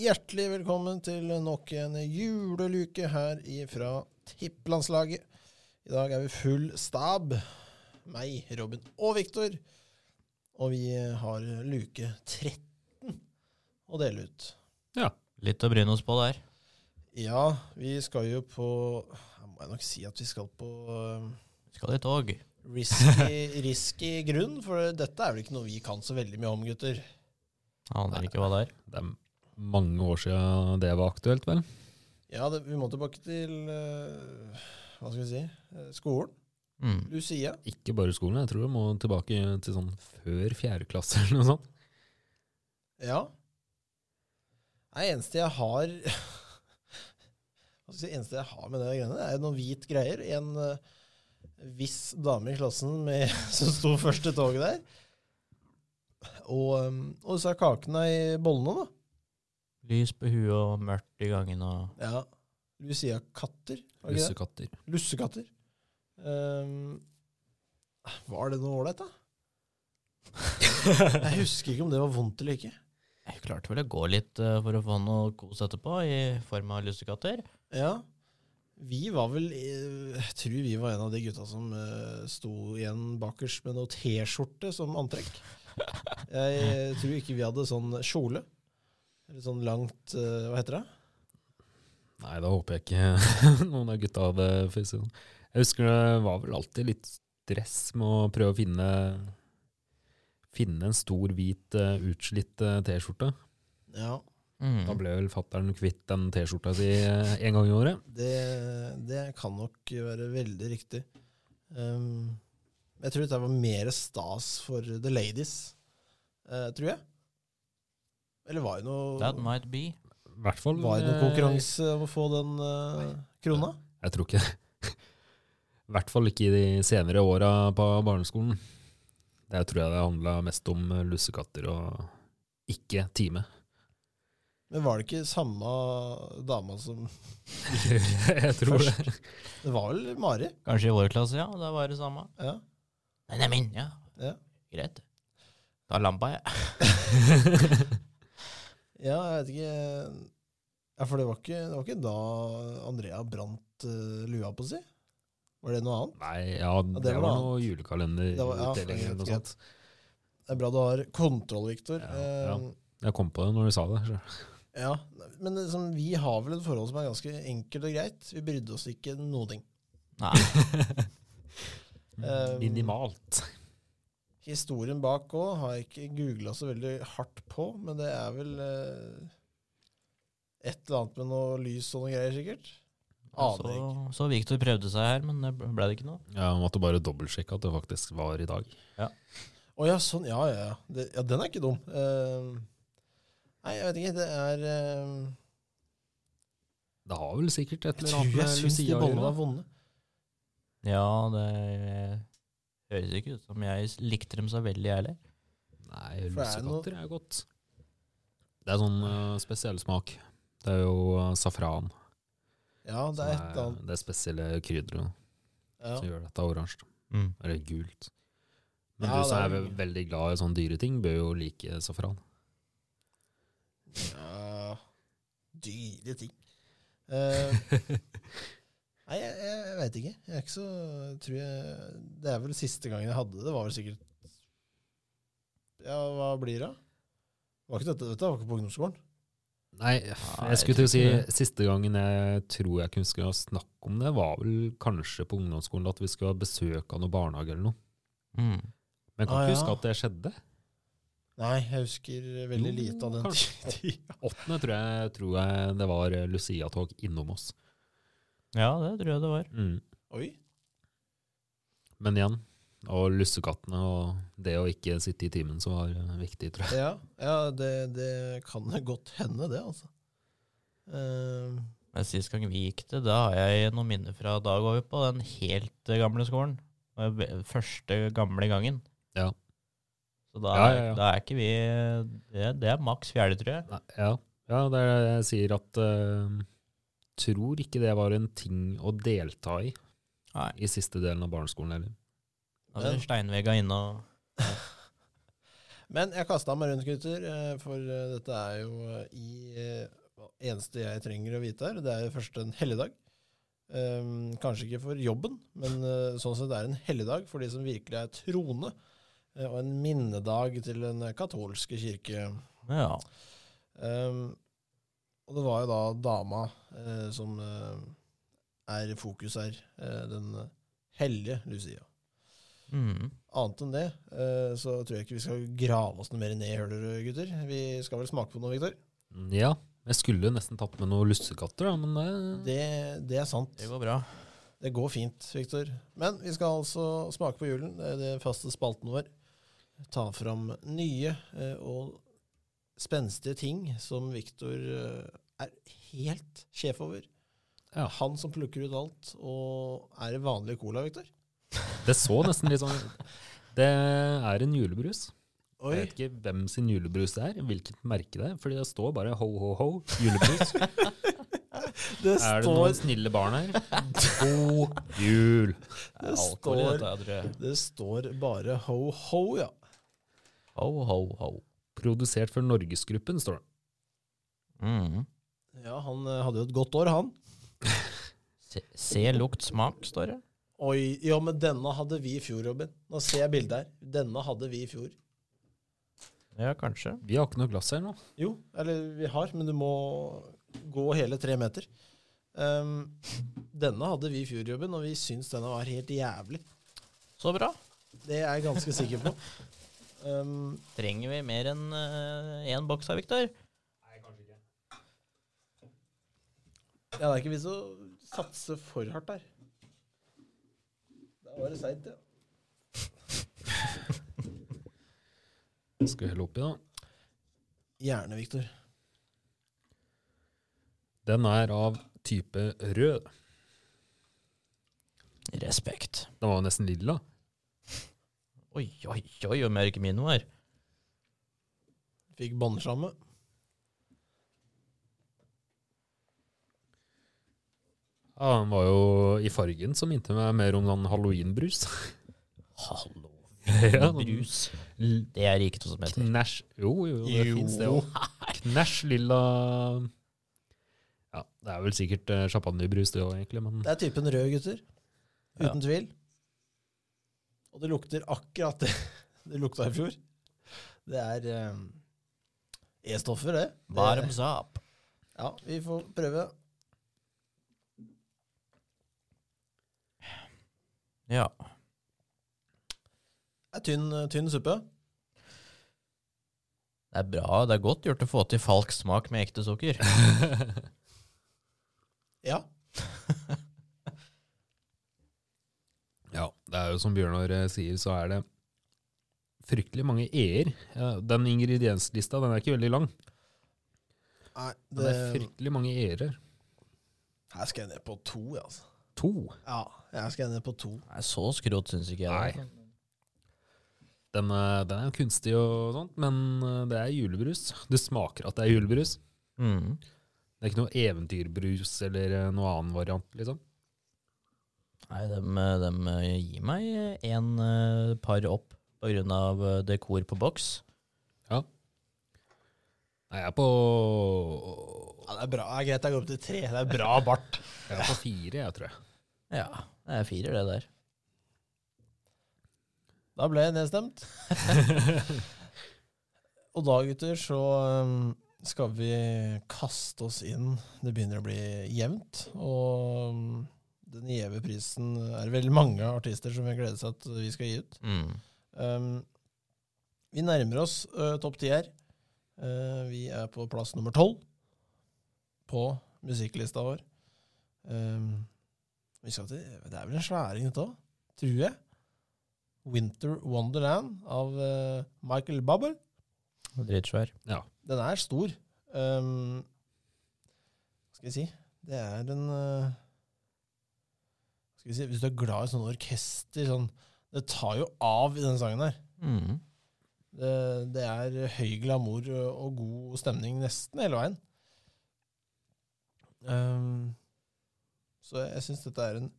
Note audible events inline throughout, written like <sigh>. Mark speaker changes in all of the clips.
Speaker 1: Hjertelig velkommen til nok en juleluke her ifra Tipplandslaget. I dag er vi full stab. Meg, Robin og Viktor. Og vi har luke 13 å dele ut.
Speaker 2: Ja.
Speaker 3: Litt å bryne oss på der.
Speaker 1: Ja, vi skal jo på Jeg må nok si at vi skal på eh,
Speaker 3: Skal i tog.
Speaker 1: risky, risky grunn, for dette er vel ikke noe vi kan så veldig mye om, gutter.
Speaker 3: Aner ikke hva det er.
Speaker 2: Det er mange år siden det var aktuelt, vel?
Speaker 1: Ja, det, vi må tilbake til eh, Hva skal vi si? eh, Skolen.
Speaker 3: Mm.
Speaker 1: Lucia.
Speaker 2: Ikke bare skolen, jeg tror jeg må tilbake til sånn før fjerde klasse eller noe sånt.
Speaker 1: Ja. Nei, eneste jeg har <laughs> Hva skal jeg si, eneste jeg har med det greiene, det er noen hvit greier. En eh, viss dame i klassen med, <laughs> som sto først i toget der. Og, um, og så er kakene i bollene,
Speaker 3: Lys på huet og mørkt i gangen og
Speaker 1: da. Ja. Lucia-katter. var det ikke det?
Speaker 2: Lussekatter.
Speaker 1: Lussekatter. Um, var det noe ålreit, da? Jeg husker ikke om det var vondt eller ikke.
Speaker 3: Jeg klarte vel å gå litt eh, for å få noe kos etterpå, i form av lussekatter.
Speaker 1: Ja. Vi var vel eh, Jeg tror vi var en av de gutta som eh, sto igjen bakerst med noe T-skjorte som antrekk. Jeg eh, tror ikke vi hadde sånn kjole. Eller sånn langt eh, Hva heter det?
Speaker 2: Nei, da håper jeg ikke <laughs> noen av gutta hadde fisset. sånn. Jeg husker det var vel alltid litt stress med å prøve å finne, finne en stor, hvit, eh, utslitt eh, T-skjorte.
Speaker 1: Ja,
Speaker 2: Da
Speaker 3: Mm.
Speaker 2: ble vel fattern kvitt den T-skjorta si eh, en gang i året.
Speaker 1: det, det kan nok være veldig riktig. Um, jeg tror dette var mer stas for the ladies, eh, tror jeg. Eller var det
Speaker 3: That
Speaker 1: noe,
Speaker 3: might be.
Speaker 2: I hvert fall
Speaker 1: var det noe
Speaker 2: eh,
Speaker 1: konkurranse om å få den eh, krona?
Speaker 2: Jeg tror ikke <laughs> det. I hvert fall ikke i de senere åra på barneskolen. Der tror jeg det handla mest om lussekatter og ikke time. <laughs>
Speaker 1: Men var det ikke samme dama som
Speaker 2: jeg tror det.
Speaker 1: Det var vel Mari?
Speaker 3: Kanskje i vår klasse, ja. Da var det samme.
Speaker 1: Ja.
Speaker 3: Den er min, ja.
Speaker 1: Ja.
Speaker 3: Greit. Da lampa jeg.
Speaker 1: ja, jeg vet ikke Ja, For det var ikke, det var ikke da Andrea brant eh, lua på si? Var det noe annet?
Speaker 2: Nei, ja, det,
Speaker 1: det var
Speaker 2: var
Speaker 1: noe
Speaker 2: noe julekalender.
Speaker 1: Det var- ja,
Speaker 2: utdeling eller noe
Speaker 1: greit,
Speaker 2: sånt.
Speaker 1: Det er bra du har kontroll, Viktor.
Speaker 2: Ja,
Speaker 1: Ja,
Speaker 2: ja. Jeg kom på det når du sa det. Så.
Speaker 1: ja. Men det som, vi har vel et forhold som er ganske enkelt og greit. Vi brydde oss ikke noe ting.
Speaker 3: Nei.
Speaker 1: Eh,
Speaker 2: Minimalt.
Speaker 1: Historien bak òg har jeg ikke googla så veldig hardt på, men det er vel eh, et eller annet med noe lys og noe greier, sikkert. Aner
Speaker 2: Altså,
Speaker 3: Så,
Speaker 1: ikke.
Speaker 3: så Victor prøvde seg her, men det ble det ikke noe.
Speaker 2: Ja, jeg måtte bare dobbeltsjekke at det faktisk var i dag.
Speaker 1: Å ja, sånn. Ja, ja, ja. Det, ja den er ikke dum. Eh, nei, jeg vet ikke. Det er eh,
Speaker 2: Det har vel sikkert et
Speaker 1: Jeg
Speaker 2: eller
Speaker 1: tror
Speaker 2: annet
Speaker 1: jeg
Speaker 2: med
Speaker 1: syns de
Speaker 2: Lucia å
Speaker 1: bollene
Speaker 2: gjøre.
Speaker 1: var vonde.
Speaker 3: Ja, det høres ikke ut som jeg likte dem så veldig, jeg heller.
Speaker 2: Nei,
Speaker 1: For det er noe-
Speaker 2: lussekatter er godt. Det er sånn uh, spesiell smak. Det er jo eh, safran.
Speaker 1: Ja, det er et eller
Speaker 2: Som
Speaker 1: annet.
Speaker 2: det er spesielle krydderet som
Speaker 1: Ja.
Speaker 2: gjør dette oransje.
Speaker 3: Mm.
Speaker 2: Eller gult. Men
Speaker 1: Ja,
Speaker 2: du som
Speaker 1: det
Speaker 2: er
Speaker 1: er
Speaker 2: ve- veldig glad i sånne dyre ting, bør jo like safran.
Speaker 1: ja. Dyre ting. <laughs> Eh, nei, jeg, jeg, jeg veit ikke. Jeg er ikke så tror jeg, Det er vel siste gangen jeg hadde det. Var vel sikkert Ja, hva blir det? Var ikke dette, dette var ikke på ungdomsskolen?
Speaker 2: Nei,
Speaker 3: Nei,
Speaker 2: jeg skulle til å si
Speaker 3: jeg
Speaker 2: siste gangen jeg tror jeg kunne huske å snakke om det, var vel kanskje på ungdomsskolen at vi skulle ha besøk av noen barnehage eller noe.
Speaker 3: Mm.
Speaker 2: Men jeg kan
Speaker 1: Ah,
Speaker 2: ikke
Speaker 1: ja.
Speaker 2: huske at det skjedde.
Speaker 1: Nei, jeg husker veldig
Speaker 2: Jo,
Speaker 1: lite av den
Speaker 2: kanskje.
Speaker 1: tida.
Speaker 2: Åttende tror jeg, tror jeg det var eh, Lucia-tog innom oss.
Speaker 3: Ja, det tror jeg det var.
Speaker 2: Mm.
Speaker 1: <laughs> Oi.
Speaker 2: Men igjen, og lussekattene og det å ikke sitte i timen som var eh, viktig, tror jeg.
Speaker 1: Ja, ja det, det kan <laughs> godt hende, det, altså. Eh,
Speaker 3: Men sist gang vi gikk det, da har jeg noen minner fra da går vi på den helt eh, gamle skolen. Eh, ve- Første gamle gangen.
Speaker 2: Ja.
Speaker 3: Så da,
Speaker 2: Ja,
Speaker 3: er-
Speaker 2: ja, ja.
Speaker 3: da er ikke vi Det, det er maks fjerde, tror jeg.
Speaker 2: Nei, Ja, ja det er det jeg sier at eh, Tror ikke det var en ting å delta i
Speaker 3: Nei.
Speaker 2: i siste delen av barneskolen heller.
Speaker 3: Da var det steinvegga inne og
Speaker 1: Men jeg kasta meg rundt, gutter, eh, for eh, dette er jo eh, i eh, hva- eneste jeg trenger å vite her. Det er jo først en helligdag. Ehm, kanskje ikke for jobben, men eh, sånn sett er det en helligdag for de som virkelig er troende. eh, og en minnedag til den katolske kirke.
Speaker 3: Ja.
Speaker 1: Ehm, og det var jo da dama eh, som eh, er i fokus her. eh, den hellige Lucia.
Speaker 3: Mm.
Speaker 1: Annet enn det eh, så tror jeg ikke vi skal grave oss noe mer ned i høler, gutter. Vi skal vel smake på noe, Viktor?
Speaker 2: Mm, Ja, jeg skulle nesten tatt med noen lussekatter, da, men det,
Speaker 1: Det, det er sant.
Speaker 3: Det går bra.
Speaker 1: Det går fint, Viktor. Men vi skal altså smake på julen. Det er det faste spalten vår. Ta fram nye eh, og spenstige ting som Viktor eh, er helt sjef over.
Speaker 2: Ja.
Speaker 1: Han som plukker ut alt. Og er det vanlig cola, Viktor?
Speaker 2: det så nesten litt sånn Det er en julebrus.
Speaker 1: Oi.
Speaker 2: Jeg vet ikke hvem sin julebrus det er, hvilket merke det er, fordi det står bare ho, ho, ho, julebrus.
Speaker 1: Det
Speaker 2: er det noen snille barn her? God jul!
Speaker 1: Det
Speaker 3: Alkohol i
Speaker 1: står-
Speaker 3: dette, tror jeg.
Speaker 1: det står bare ho-ho, ja.
Speaker 3: Ho, ho, ho.
Speaker 2: Produsert for Norgesgruppen, står det.
Speaker 3: Mm.
Speaker 1: Ja, Han eh, hadde jo et godt år, han.
Speaker 3: Se, se, lukt, smak, står det.
Speaker 1: Oi, ja, men denne hadde vi i fjor, Robin. Nå ser jeg bildet her. Denne hadde vi i fjor.
Speaker 3: Ja, kanskje.
Speaker 2: Vi har ikke noe glass her nå.
Speaker 1: Jo, eller vi har, men du må gå hele tre meter. Ehm, denne hadde vi i fjor, Robin, og vi syns denne var helt jævlig.
Speaker 3: Så bra.
Speaker 1: Det er jeg ganske sikker på. Ehm,
Speaker 3: Trenger vi mer enn eh, én boks her, Viktor?
Speaker 1: ja, det er ikke vits å satse for hardt der. Da var det seigt, ja.
Speaker 2: Skal vi helle oppi, da.
Speaker 1: Gjerne, Viktor.
Speaker 2: Den er av type rød.
Speaker 3: Respekt.
Speaker 2: Den var jo nesten lilla.
Speaker 3: Oi, oi, oi, hvor mørk min var.
Speaker 1: Fikk båndslamme.
Speaker 2: Ja, Den var jo i fargen som minte meg mer om den halloweenbrus. <laughs>
Speaker 3: Hallo.
Speaker 2: Ja,
Speaker 3: Brus.
Speaker 2: L-
Speaker 3: Det er ikke noe som heter.
Speaker 2: Knæsj Jo, jo, det
Speaker 1: Jo.
Speaker 2: fins det òg. Knæsj lilla Ja, det er vel sikkert eh, champagnebrus det òg, egentlig, men
Speaker 1: Det er typen rød, gutter.
Speaker 3: Ja.
Speaker 1: Uten tvil. Og det lukter akkurat det <laughs> det lukta i fjor. Det er eh, E-stoffer, det. det.
Speaker 3: Varm sap.
Speaker 1: Ja, vi får prøve.
Speaker 3: Ja.
Speaker 1: Det er tynn, eh, tynn suppe.
Speaker 3: Det er bra. Det er godt gjort å få til falsk smak med ekte sukker.
Speaker 1: Ja.
Speaker 2: ja, det er jo som Bjørnar eh, sier, så er det fryktelig mange e-er. Ja, den ingredienslista den er ikke veldig lang.
Speaker 1: Nei,
Speaker 2: men Det
Speaker 1: det,
Speaker 2: er fryktelig mange e-er.
Speaker 1: her skal jeg ned på to, altså.
Speaker 2: To.
Speaker 1: Ja, jeg skal ned på to.
Speaker 3: Nei, så skrot syns ikke jeg. det.
Speaker 2: Den, eh, den er jo kunstig og sånt, men eh, det er julebrus. Det smaker at det er julebrus.
Speaker 3: Mm.
Speaker 2: Det er ikke noe eventyrbrus eller eh, noe annen variant, liksom.
Speaker 3: Nei, de, gir meg en eh, par opp på grunn av eh, dekor på boks.
Speaker 2: Nei, jeg er på
Speaker 1: Ja, det er bra. Det er greit jeg går opp til tre. Det er bra bart. <laughs>
Speaker 2: Jeg er på fire, jeg tror jeg.
Speaker 3: Ja, det er firer, det der.
Speaker 1: Da ble jeg <laughs> nedstemt. og da, gutter, så um, skal vi kaste oss inn. Det begynner å bli jevnt. Og um, den gjeve prisen er det veldig mange artister som vil glede seg at vi skal gi ut.
Speaker 3: Mm.
Speaker 1: Um, vi nærmer oss uh, topp ti her. Uh, vi er på plass nummer tolv på musikklista vår. Um, vi skal til, det er vel en sværing, dette òg, tror jeg. Winter Wonderland av uh, Michael Bubble.
Speaker 3: Dritsvær.
Speaker 1: Den er stor. Um, hva skal jeg si Det er en uh, hva skal jeg si, Hvis du er glad i sånne orkester sånn, Det tar jo av i den sangen her.
Speaker 3: Mm.
Speaker 1: Det, det er høy glamour og god stemning nesten hele veien. Ehm, så jeg syns dette er en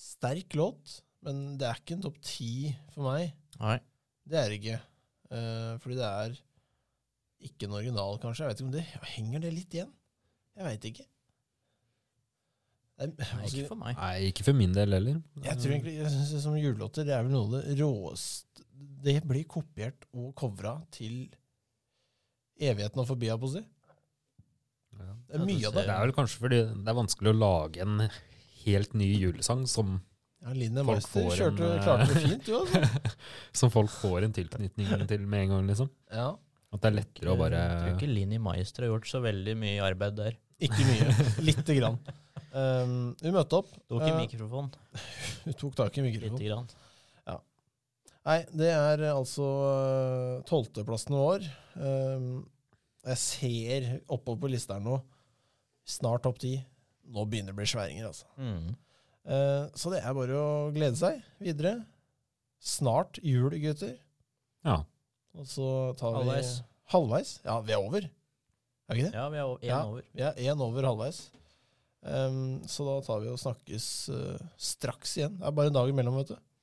Speaker 1: sterk låt, men det er ikke en topp ti for meg.
Speaker 3: Nei.
Speaker 1: Det er det ikke. Eh, fordi det er ikke en original, kanskje. Jeg vet ikke om det Henger det litt igjen? Jeg veit ikke. Det er,
Speaker 3: Nei,
Speaker 1: altså,
Speaker 3: ikke for meg.
Speaker 2: Nei, ikke for min del heller.
Speaker 1: jeg tror egentlig jeg synes det som julelåter det er vel noe av det råeste Det blir kopiert og covra til evigheten og forbi, jeg på å si. Det
Speaker 2: Ja.
Speaker 1: er
Speaker 3: Ja, du
Speaker 1: mye av
Speaker 2: Det
Speaker 1: det.
Speaker 2: er vel kanskje fordi det er vanskelig å lage en helt ny julesang som,
Speaker 1: Ja, Linne
Speaker 2: Folk
Speaker 1: Meister
Speaker 2: får en,
Speaker 1: kjørte,
Speaker 2: eh,
Speaker 1: klarte det fint, du, altså.
Speaker 2: som folk får en tilknytning til med en gang, liksom.
Speaker 1: Ja.
Speaker 2: At det er lettere å bare
Speaker 3: Jeg tror ikke Linni Meister har gjort så veldig mye arbeid der.
Speaker 1: Ikke mye. Lite grann. Um, vi møtte opp.
Speaker 3: Tok i
Speaker 1: Eh,
Speaker 3: mikrofon,
Speaker 1: <laughs> Hun tok tak i mikrofonen.
Speaker 3: lite grann.
Speaker 1: Nei, det er eh, altså tolvteplassen vår. Ehm, Jeg ser oppover på lista her nå, snart topp ti. Nå begynner det å bli sværinger, altså.
Speaker 3: Mm.
Speaker 1: Eh, Så det er bare å glede seg videre. Snart jul, gutter.
Speaker 2: Ja.
Speaker 1: Og så tar vi
Speaker 3: Halvveis.
Speaker 1: Halvveis? Ja, vi er over. Er vi ikke det?
Speaker 3: Ja, vi er o- en
Speaker 1: Ja.
Speaker 3: over.
Speaker 1: Vi er én over halvveis. Ehm, så da tar vi og snakkes eh, straks igjen. Det er bare en dag imellom, vet du.